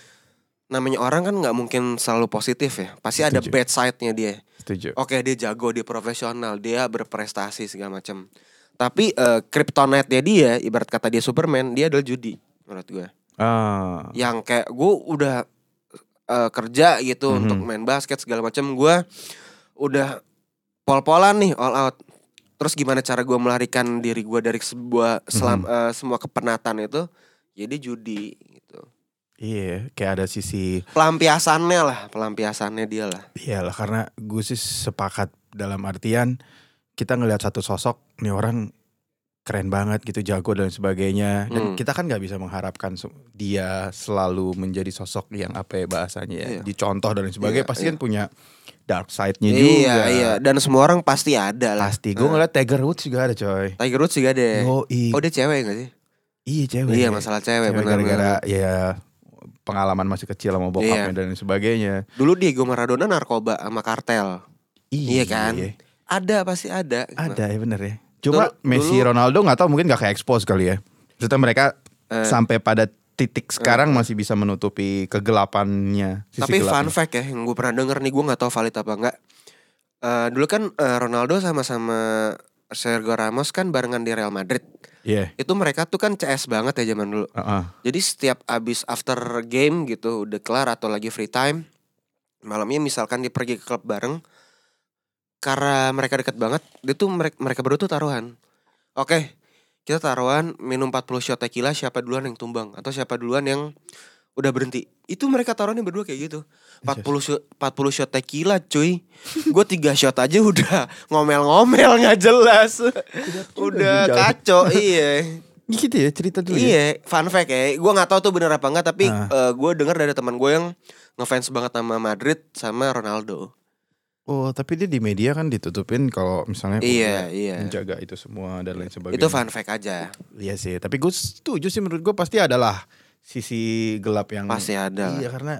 Speaker 1: namanya orang kan nggak mungkin selalu positif ya. Pasti ada
Speaker 2: Setuju.
Speaker 1: bad side-nya dia.
Speaker 2: setuju
Speaker 1: Oke dia jago dia profesional dia berprestasi segala macam. Tapi eh kryptonite-nya dia ibarat kata dia Superman dia adalah judi menurut gue.
Speaker 2: ah
Speaker 1: Yang kayak gue udah eh, kerja gitu
Speaker 2: Mhm.
Speaker 1: untuk main basket segala macam gue udah pol-polan nih all out. Terus gimana cara gue melarikan diri gue dari sebuah
Speaker 2: Mhm.
Speaker 1: selam, eh, semua kepenatan itu? Jadi judi gitu.
Speaker 2: iya kayak ada sisi
Speaker 1: Pelampiasannya lah, pelampiasannya dia lah.
Speaker 2: iyalah Iya karena gue sih sepakat dalam artian kita ngelihat satu sosok nih orang keren banget gitu jago dan sebagainya dan
Speaker 1: Hmm.
Speaker 2: kita kan nggak bisa mengharapkan se- dia selalu menjadi sosok yang apa ya bahasanya ya
Speaker 1: Iya.
Speaker 2: dicontoh dan sebagainya
Speaker 1: Iya,
Speaker 2: pasti
Speaker 1: iya.
Speaker 2: kan punya dark side-nya
Speaker 1: Iya,
Speaker 2: Ya juga
Speaker 1: iya, dan semua orang pasti ada lah.
Speaker 2: pasti gue ngeliat Tiger Woods juga ada coy
Speaker 1: Tiger Woods juga deh.
Speaker 2: Yoi.
Speaker 1: Oh dia cewek gak sih?
Speaker 2: iya cewek
Speaker 1: Iya masalah cewek,
Speaker 2: Cewek
Speaker 1: benar
Speaker 2: gara-gara ya pengalaman masih kecil sama
Speaker 1: Iya.
Speaker 2: bokapnya dan sebagainya
Speaker 1: Dulu Diego Maradona narkoba sama kartel. Iya kan? Ada pasti ada.
Speaker 2: Ada ya bener ya. Cuma
Speaker 1: Dulu-
Speaker 2: Messi
Speaker 1: dulu- Eh.
Speaker 2: Ronaldo nggak tahu mungkin nggak ke expose kali ya. Maksudnya mereka sampai pada titik sekarang masih bisa menutupi kegelapannya. sisi
Speaker 1: Tapi fun
Speaker 2: gelapnya.
Speaker 1: fact ya yang gue pernah denger nih gue nggak tahu valid apa enggak. Eh dulu kan eh, Ronaldo sama-sama Sergio Ramos kan barengan di Real Madrid.
Speaker 2: Iya.
Speaker 1: Itu mereka tuh kan CS banget ya zaman dulu.
Speaker 2: Heeh.
Speaker 1: Jadi setiap abis after game gitu udah kelar atau lagi free time malamnya misalkan dia pergi ke klub bareng karena mereka dekat banget dia tuh mereka, mereka berdua tuh taruhan. Oke, kita taruhan minum 40 shot tequila siapa duluan yang tumbang atau siapa duluan yang udah berhenti. Itu mereka taruhannya berdua kayak gitu. 40 shot 40 shot tequila cuy. Gue tiga shot aja udah ngomel-ngomel nggak jelas. udah kacau iya.
Speaker 2: Gitu ya cerita dulu ya.
Speaker 1: Iya, fun fact ya. Gue nggak tahu tuh bener apa enggak, tapi
Speaker 2: Ah.
Speaker 1: gue dengar dari teman gue yang ngefans banget sama Madrid sama Ronaldo.
Speaker 2: Oh, tapi dia di media kan ditutupin kalau misalnya
Speaker 1: Iya,
Speaker 2: udah
Speaker 1: iya.
Speaker 2: menjaga itu semua dan lain sebagainya.
Speaker 1: Itu fun fact aja.
Speaker 2: Iya sih, tapi gue setuju sih menurut gue pasti adalah sisi gelap yang
Speaker 1: Pasti ada lah.
Speaker 2: Iya karena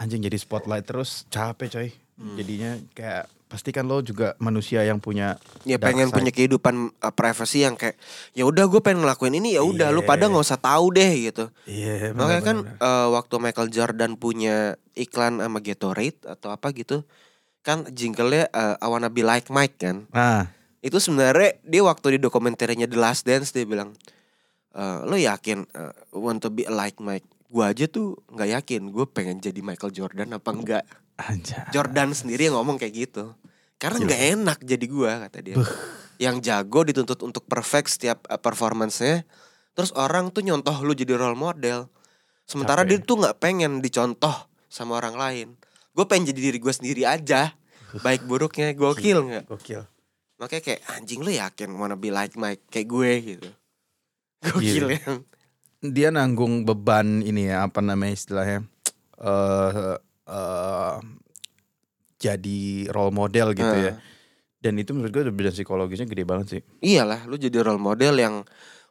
Speaker 2: anjing jadi spotlight terus capek coy.
Speaker 1: Hmm.
Speaker 2: Jadinya kayak pasti kan lo juga manusia yang punya
Speaker 1: Ya
Speaker 2: dark
Speaker 1: pengen
Speaker 2: side.
Speaker 1: punya kehidupan uh, privacy yang kayak ya udah gue pengen ngelakuin ini ya udah lu
Speaker 2: Iya.
Speaker 1: pada nggak usah tahu deh gitu.
Speaker 2: Iya,
Speaker 1: Makanya kan
Speaker 2: benar-benar.
Speaker 1: eh, waktu Michael Jordan punya iklan sama Gatorade atau apa gitu kan jinglenya eh, I wanna be like Mike kan.
Speaker 2: Nah,
Speaker 1: itu sebenarnya dia waktu di dokumenternya The Last Dance dia bilang "Eh, lo yakin eh, want to be like Mike gue aja tuh nggak yakin gue pengen jadi Michael Jordan apa enggak
Speaker 2: anjay.
Speaker 1: Jordan sendiri yang ngomong kayak gitu karena nggak enak jadi gue kata dia yang jago dituntut untuk perfect setiap eh, performance-nya terus orang tuh nyontoh lu jadi role model sementara dia
Speaker 2: Capek.
Speaker 1: tuh nggak pengen dicontoh sama orang lain gue pengen jadi diri gue sendiri aja baik buruknya gokil nggak
Speaker 2: Gokil.
Speaker 1: Makanya kayak anjing lu yakin wanna be like Mike kayak gue gitu. Gokil
Speaker 2: Gila.
Speaker 1: ya.
Speaker 2: Dia nanggung beban ini ya, apa namanya istilahnya? eh eh, jadi role model gitu ya. Dan itu menurut gue beban psikologisnya gede banget sih.
Speaker 1: Iyalah, lu jadi role model yang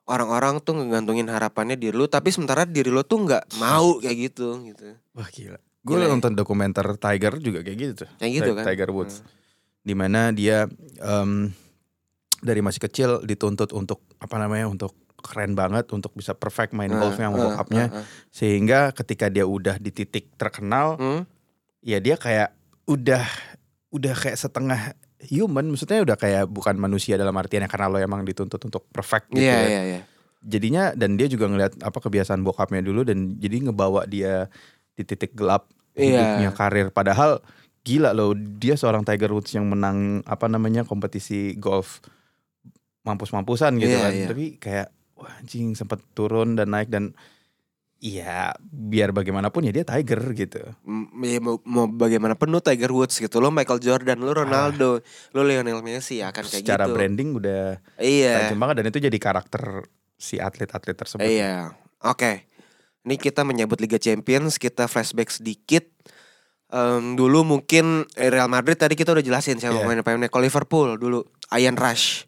Speaker 1: orang-orang tuh ngegantungin harapannya di lu tapi sementara diri lu tuh nggak mau kayak gitu gitu.
Speaker 2: Wah gila. Gue
Speaker 1: Gila ya.
Speaker 2: nonton dokumenter Tiger juga kayak gitu Hmm. tuh.
Speaker 1: Kayak gitu
Speaker 2: Ti-
Speaker 1: kan.
Speaker 2: Tiger Woods. Dimana dia em, dari masih kecil dituntut untuk apa namanya untuk keren banget untuk bisa perfect main
Speaker 1: Nah,
Speaker 2: golfnya sama
Speaker 1: nah,
Speaker 2: bokapnya
Speaker 1: nah, nah.
Speaker 2: sehingga ketika dia udah di titik terkenal
Speaker 1: Hmm?
Speaker 2: ya dia kayak udah udah kayak setengah human maksudnya udah kayak bukan manusia dalam artian ya karena lo emang dituntut untuk perfect gitu
Speaker 1: Iya
Speaker 2: ya
Speaker 1: iya iya.
Speaker 2: jadinya dan dia juga ngeliat apa kebiasaan bokapnya dulu dan jadi ngebawa dia di titik gelap
Speaker 1: Iya.
Speaker 2: hidupnya karir padahal gila loh dia seorang Tiger Woods yang menang apa namanya kompetisi golf mampus-mampusan gitu
Speaker 1: Iya,
Speaker 2: kan
Speaker 1: iya.
Speaker 2: tapi kayak wah anjing sempat turun dan naik dan Iya, biar bagaimanapun ya dia Tiger gitu.
Speaker 1: M- ya mau, mau bagaimanapun lu Tiger Woods gitu, lu Michael Jordan, lu Ronaldo, lu Lionel Messi ya akan kayak
Speaker 2: Ah. Secara
Speaker 1: gitu.
Speaker 2: branding udah
Speaker 1: Iya.
Speaker 2: tajam banget dan itu jadi karakter si atlet-atlet tersebut.
Speaker 1: Iya, oke. Ini kita menyebut Liga Champions, kita flashback sedikit. Em, dulu mungkin eh, Real Madrid tadi kita udah jelasin siapa
Speaker 2: Iya.
Speaker 1: pemain-pemainnya. Kalau Liverpool dulu, Ian Rush,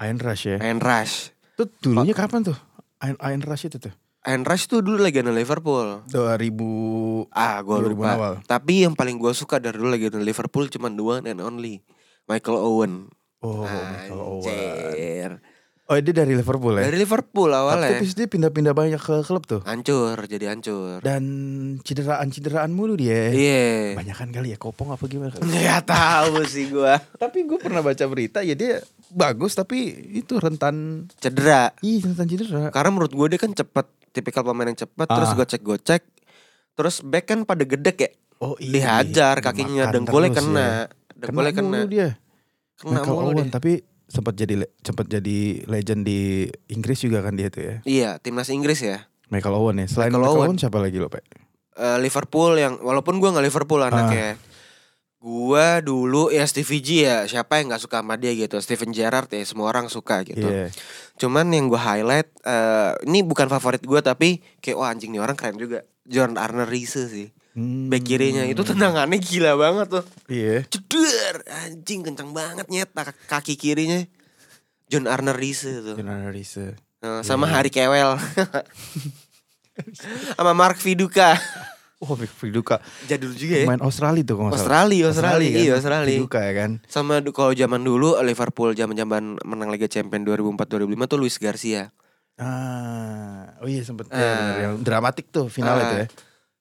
Speaker 2: Iron Rush ya.
Speaker 1: Ian Rush.
Speaker 2: Itu dulunya kapan tuh? Iron, Iron Rush itu tuh.
Speaker 1: Ian Rush tuh dulu legenda Liverpool.
Speaker 2: 2000
Speaker 1: Ah, gue
Speaker 2: 2000
Speaker 1: lupa.
Speaker 2: awal.
Speaker 1: Tapi yang paling gue suka dari dulu legenda Liverpool cuma dua and only. Michael Owen.
Speaker 2: Oh, Michael Owen.
Speaker 1: Anjir.
Speaker 2: Oh, dia dari Liverpool ya.
Speaker 1: Dari Liverpool eh?
Speaker 2: Tapi
Speaker 1: awalnya.
Speaker 2: habis dia pindah-pindah banyak ke klub tuh.
Speaker 1: Hancur, jadi hancur.
Speaker 2: Dan cederaan-cederaan mulu dia.
Speaker 1: Iya.
Speaker 2: Banyakan kali ya kopong apa gimana?
Speaker 1: Nggak tahu sih gue.
Speaker 2: tapi gue pernah baca berita ya dia bagus tapi itu rentan
Speaker 1: Cedera.
Speaker 2: ih rentan cedera.
Speaker 1: Karena menurut gue dia kan cepet Tipikal pemain yang cepet Terus
Speaker 2: Ah.
Speaker 1: gocek-gocek Terus back kan pada gede ya
Speaker 2: Oh,
Speaker 1: Dihajar kakinya
Speaker 2: Makan
Speaker 1: Dengkulnya
Speaker 2: terus
Speaker 1: kena
Speaker 2: Ya.
Speaker 1: Dengkulnya
Speaker 2: kena
Speaker 1: kena
Speaker 2: mulu dia.
Speaker 1: Kena
Speaker 2: Michael
Speaker 1: mulu
Speaker 2: Owen
Speaker 1: deh.
Speaker 2: tapi sempat jadi le- sempat jadi legend di Inggris juga kan dia tuh ya.
Speaker 1: Iya timnas Inggris ya
Speaker 2: Michael Owen ya. Selain
Speaker 1: Michael
Speaker 2: Michael,
Speaker 1: Owen.
Speaker 2: Owen. siapa lagi lo, Pak?
Speaker 1: Eh, Liverpool yang Walaupun gue gak Liverpool
Speaker 2: Ah.
Speaker 1: anaknya Gue dulu ya Stevie G ya Siapa yang gak suka sama dia gitu Steven Gerrard ya semua orang suka gitu
Speaker 2: Iya.
Speaker 1: Cuman yang gue highlight eh, Ini bukan favorit gue tapi Kayak wah anjing nih orang keren juga Jordan Arner Riese sih
Speaker 2: Hmm,
Speaker 1: Back kirinya itu tendangannya gila banget tuh
Speaker 2: Iya.
Speaker 1: ceder anjing kencang banget nyet tak- kaki kirinya John Arner Riese tuh
Speaker 2: Jonathan Rhys.
Speaker 1: Eh, sama Hari Kewel sama Mark Viduka
Speaker 2: Oh, Vic Viduka.
Speaker 1: jadul juga ya
Speaker 2: Main Australia tuh kalau nggak salah.
Speaker 1: Australia Australia
Speaker 2: kan?
Speaker 1: iya Australia
Speaker 2: Viduka ya kan.
Speaker 1: sama du- kalau zaman dulu Liverpool zaman zaman menang Liga Champion 2004 2005 tuh Luis Garcia
Speaker 2: Ah, oh iya sempet ya,
Speaker 1: Eh.
Speaker 2: bener, yang dramatik tuh final
Speaker 1: Eh,
Speaker 2: itu ya.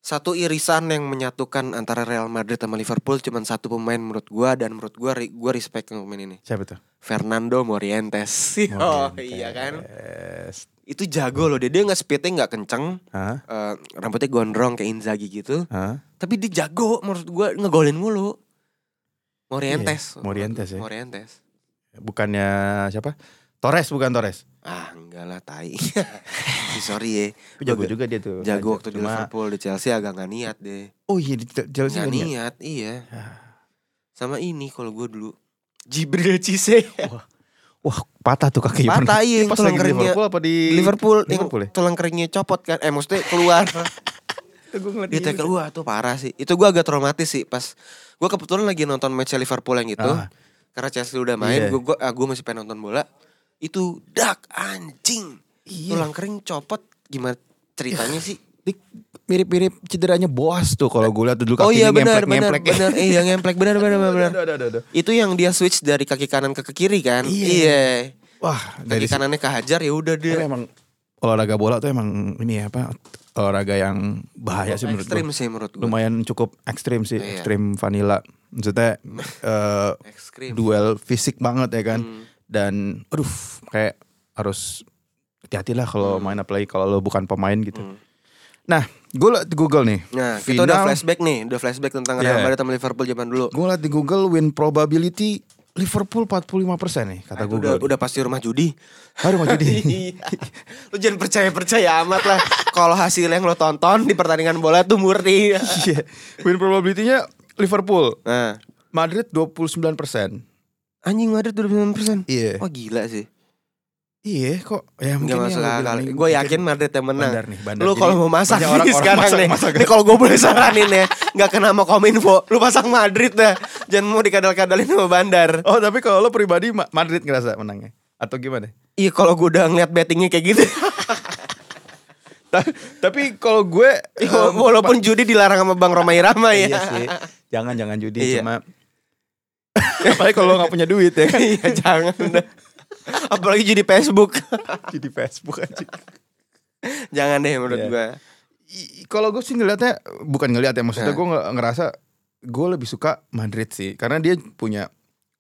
Speaker 1: Satu irisan yang menyatukan antara Real Madrid sama Liverpool cuman satu pemain menurut gua dan menurut gua ri- gua respect ke pemain ini.
Speaker 2: Siapa tuh?
Speaker 1: Fernando Morientes. Oh iya kan.
Speaker 2: Morientes.
Speaker 1: Itu jago loh dia. Dia nggak speednya nggak kenceng.
Speaker 2: Hah?
Speaker 1: eh, rambutnya gondrong kayak Inzaghi gitu.
Speaker 2: Hah?
Speaker 1: Tapi dia jago menurut gua ngegolin mulu. Morientes.
Speaker 2: Iya, Morientes ya.
Speaker 1: Morientes.
Speaker 2: Bukannya siapa? Torres bukan Torres.
Speaker 1: Ah enggak lah tai. Sorry ya.
Speaker 2: Jago
Speaker 1: Bagus.
Speaker 2: juga dia tuh.
Speaker 1: Jago waktu di
Speaker 2: Cuma-
Speaker 1: Liverpool di Chelsea agak nggak niat deh.
Speaker 2: Oh iya di Chelsea
Speaker 1: Nggak
Speaker 2: kan ya?
Speaker 1: niat, iya.
Speaker 2: Ah.
Speaker 1: Sama ini kalau gue dulu Jibril Cisse.
Speaker 2: Wah, patah tuh kakinya.
Speaker 1: Patah, iya, yang
Speaker 2: Pas lagi di
Speaker 1: kelengkringnya.
Speaker 2: Liverpool apa di
Speaker 1: Liverpool, iya. yang
Speaker 2: Liverpool ya?
Speaker 1: tulang keringnya copot kan. Eh maksudnya keluar.
Speaker 2: Itu gua ngeliat
Speaker 1: Dia
Speaker 2: gitu.
Speaker 1: tackle wah tuh parah sih. Itu gue agak traumatis sih pas gue kebetulan lagi nonton match Liverpool yang itu.
Speaker 2: Ah.
Speaker 1: Karena Chelsea udah main,
Speaker 2: Iya.
Speaker 1: gue gua, ah, gua masih pengen nonton bola. Itu dak anjing.
Speaker 2: Iya.
Speaker 1: Tulang kering copot gimana ceritanya sih?
Speaker 2: Dik, mirip-mirip cederanya Boas tuh kalau gue lihat dulu
Speaker 1: Oh iya
Speaker 2: kakinya
Speaker 1: benar benar
Speaker 2: ngemplek-ngemplek. ya.
Speaker 1: benar. Iya ngemplek benar benar benar.
Speaker 2: Aduh, aduh, aduh, aduh.
Speaker 1: Itu yang dia switch dari kaki kanan ke ke kiri kan?
Speaker 2: Iya.
Speaker 1: Iya.
Speaker 2: Wah,
Speaker 1: Kaki
Speaker 2: dari situ
Speaker 1: kanannya kehajar ya udah dia.
Speaker 2: emang olahraga bola tuh emang ini ya, apa olahraga yang bahaya sih menurut
Speaker 1: ekstrim
Speaker 2: gue.
Speaker 1: sih menurut gue.
Speaker 2: Lumayan cukup ekstrim sih,
Speaker 1: Iya.
Speaker 2: ekstrim vanilla. Maksudnya eh,
Speaker 1: Ekstrim. Hmm.
Speaker 2: duel fisik banget ya kan. Dan aduh kayak harus hati-hati lah kalau
Speaker 1: Hmm.
Speaker 2: main apalagi kalau lo bukan pemain gitu. Nah, gue liat di Google nih.
Speaker 1: Nah, kita udah flashback nih, udah flashback tentang Real
Speaker 2: Iya.
Speaker 1: Madrid sama Liverpool zaman dulu.
Speaker 2: Gue liat di Google win probability Liverpool 45% nih
Speaker 1: Nah,
Speaker 2: kata
Speaker 1: Itu
Speaker 2: Google.
Speaker 1: udah, udah pasti rumah judi.
Speaker 2: Baru mau jadi.
Speaker 1: Iya. lu jangan percaya-percaya amat lah. Kalau hasil yang lo tonton di pertandingan bola tuh murni.
Speaker 2: Iya. Win probability-nya Liverpool.
Speaker 1: nah,
Speaker 2: Madrid 29%.
Speaker 1: anjing Madrid udah 99%.
Speaker 2: Iya.
Speaker 1: Wah gila sih.
Speaker 2: Iya kok. Ya
Speaker 1: Enggak
Speaker 2: mungkin
Speaker 1: masuk akal. Gue yakin Madrid yang menang.
Speaker 2: Bandar nih, bandar.
Speaker 1: Lu
Speaker 2: Jadi
Speaker 1: kalau mau masak
Speaker 2: banyak
Speaker 1: nih
Speaker 2: orang-orang
Speaker 1: sekarang
Speaker 2: masak-
Speaker 1: nih.
Speaker 2: masak.
Speaker 1: Nih kalau gue boleh saranin ya, nggak kena sama Kominfo. Lu pasang Madrid dah. Jangan mau dikadal-kadalin sama Bandar.
Speaker 2: Oh tapi kalau lo pribadi Ma- Madrid ngerasa menangnya atau gimana?
Speaker 1: Iya kalau gue udah ngeliat bettingnya kayak gitu.
Speaker 2: Ta- tapi kalau gue
Speaker 1: Ya,
Speaker 2: em,
Speaker 1: walaupun judi dilarang sama Bang Romai Rama
Speaker 2: ma-
Speaker 1: ya.
Speaker 2: iya sih. Jangan jangan judi
Speaker 1: Iya.
Speaker 2: cuma apalagi kalau lo nggak punya duit ya kan
Speaker 1: Iya jangan dah. Apalagi judi Facebook.
Speaker 2: jadi Facebook aja.
Speaker 1: jangan deh menurut
Speaker 2: Iya.
Speaker 1: gua.
Speaker 2: I- Kalau gue sih ngelihatnya bukan ngelihat ya
Speaker 1: Eh.
Speaker 2: maksudnya gue nge- ngerasa gue lebih suka Madrid sih karena dia punya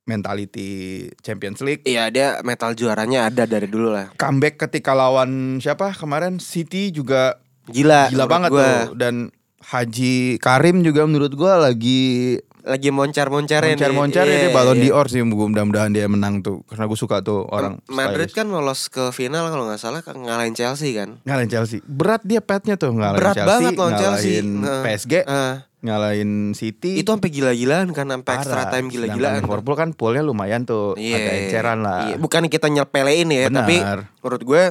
Speaker 2: mentality Champions League
Speaker 1: Iya dia metal juaranya ada dari dulu lah.
Speaker 2: comeback ketika lawan siapa kemarin City juga
Speaker 1: Gila.
Speaker 2: gila
Speaker 1: Eh, menurut
Speaker 2: banget
Speaker 1: gua.
Speaker 2: tuh dan Haji Karim juga menurut gue lagi
Speaker 1: Lagi moncar-moncarin.
Speaker 2: Moncer-moncer ya
Speaker 1: Iya,
Speaker 2: dia Ballon
Speaker 1: iya.
Speaker 2: d'Or sih Gue mudah-mudahan dia menang tuh Karena gue suka tuh orang
Speaker 1: Madrid
Speaker 2: stylish.
Speaker 1: kan lolos ke final kalau nggak salah ke- ngalahin Chelsea kan.
Speaker 2: Ngalahin Chelsea Berat dia petnya tuh Ngalahin
Speaker 1: Berat
Speaker 2: Chelsea
Speaker 1: banget lawan Chelsea.
Speaker 2: Ngalahin
Speaker 1: Nah,
Speaker 2: PSG
Speaker 1: eh,
Speaker 2: Ngalahin City
Speaker 1: itu sampai gila-gilaan kan sampai extra
Speaker 2: Parah.
Speaker 1: time
Speaker 2: Sedangkan
Speaker 1: gila-gilaan.
Speaker 2: Liverpool kan poolnya lumayan tuh
Speaker 1: Iya.
Speaker 2: Ada enceran lah
Speaker 1: Iya, Bukan kita nyepelein ya,
Speaker 2: Benar.
Speaker 1: tapi menurut gue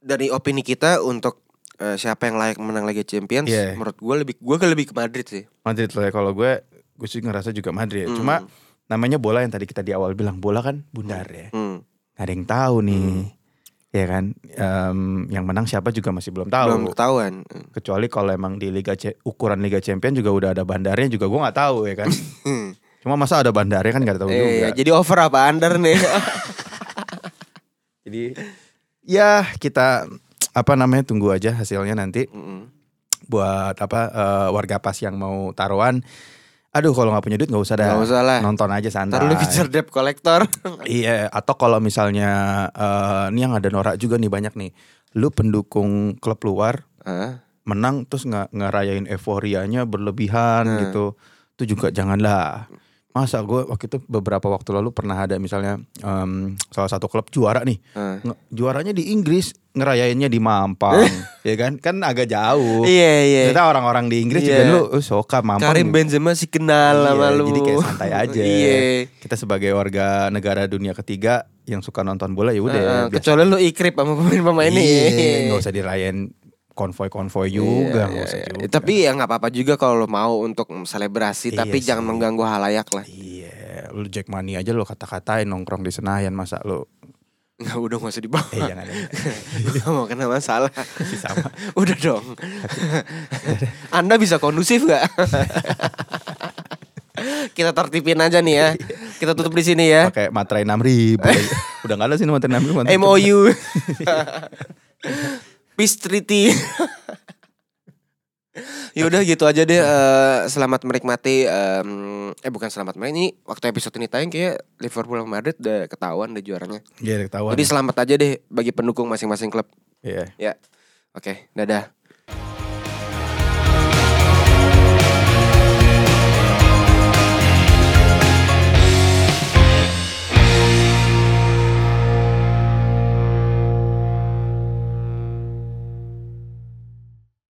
Speaker 1: dari opini kita untuk eh, siapa yang layak menang Liga Champions,
Speaker 2: Iya.
Speaker 1: menurut gue lebih gue ke lebih ke Madrid sih.
Speaker 2: Madrid lah ya. Kalau gue Gue sih ngerasa juga Madrid
Speaker 1: Hmm.
Speaker 2: Cuma Namanya bola yang tadi kita di awal bilang Bola kan bundar ya
Speaker 1: Hmm.
Speaker 2: Gak ada yang tahu nih Ya kan Em, Yang menang siapa juga masih belum tahu
Speaker 1: Belum ketahuan.
Speaker 2: kecuali kalau emang di liga C- ukuran liga champion juga udah ada bandarnya juga gua nggak tahu ya kan
Speaker 1: Hmm.
Speaker 2: cuma masa ada bandarnya kan nggak
Speaker 1: Eh,
Speaker 2: tahu juga
Speaker 1: iya, jadi over apa under nih?
Speaker 2: jadi ya kita apa namanya tunggu aja hasilnya nanti
Speaker 1: Mm-mm.
Speaker 2: buat apa eh, warga pas yang mau taruhan aduh kalau nggak punya duit nggak usah dah
Speaker 1: Nggak usah lah.
Speaker 2: nonton aja santai
Speaker 1: Ntar lu feature debt collector.
Speaker 2: Iya, atau kalau misalnya eh, ini yang ada norak juga nih banyak nih. Lu pendukung klub luar
Speaker 1: Ah,
Speaker 2: menang terus nggak ngerayain euforianya berlebihan
Speaker 1: Nah.
Speaker 2: gitu itu juga janganlah masa gue waktu itu beberapa waktu lalu pernah ada misalnya em, salah satu klub juara nih
Speaker 1: ah.
Speaker 2: Nge- juaranya di Inggris ngerayainnya di Mampang ya kan kan agak jauh
Speaker 1: Iya iya.
Speaker 2: ternyata orang-orang di Inggris
Speaker 1: Iya.
Speaker 2: juga lu "Eh, soka Mampang
Speaker 1: Karim Benzema sih kenal
Speaker 2: Iya,
Speaker 1: sama lu.
Speaker 2: jadi kayak santai aja
Speaker 1: Iya.
Speaker 2: kita sebagai warga negara dunia ketiga yang suka nonton bola ya
Speaker 1: Ah,
Speaker 2: udah
Speaker 1: ah,
Speaker 2: biasa
Speaker 1: kecuali lu ikrip sama pemain-pemainnya.
Speaker 2: Iya, nggak usah dirayain konvoy-konvoy juga
Speaker 1: Iya,
Speaker 2: nggak usah
Speaker 1: iya,
Speaker 2: juga
Speaker 1: iya. Tapi ya nggak apa-apa juga kalau lo mau untuk selebrasi,
Speaker 2: Iya
Speaker 1: tapi
Speaker 2: sih.
Speaker 1: jangan mengganggu halayak lah.
Speaker 2: Iya, lu Jackmania aja lu kata-katain nongkrong di Senayan masa lu.
Speaker 1: Nggak udah nggak usah dibawa.
Speaker 2: Eh jangan. jangan.
Speaker 1: Nggak mau kena masalah.
Speaker 2: Masih sama.
Speaker 1: udah dong. Anda bisa kondusif nggak? Kita tertipin aja nih ya. Kita tutup di sini ya.
Speaker 2: Eh. pakai materai 6000 udah nggak ada sih materai 6000
Speaker 1: Eh,
Speaker 2: materai
Speaker 1: MOU. Peace Treaty. Yaudah gitu aja deh. eh, selamat menikmati. em, eh bukan selamat menikmati. Ini waktu episode ini tayang kayak Liverpool sama Madrid udah ketahuan deh juaranya.
Speaker 2: Iya, ketahuan.
Speaker 1: Jadi selamat aja deh bagi pendukung masing-masing klub.
Speaker 2: Iya.
Speaker 1: Ya. Oke. dadah.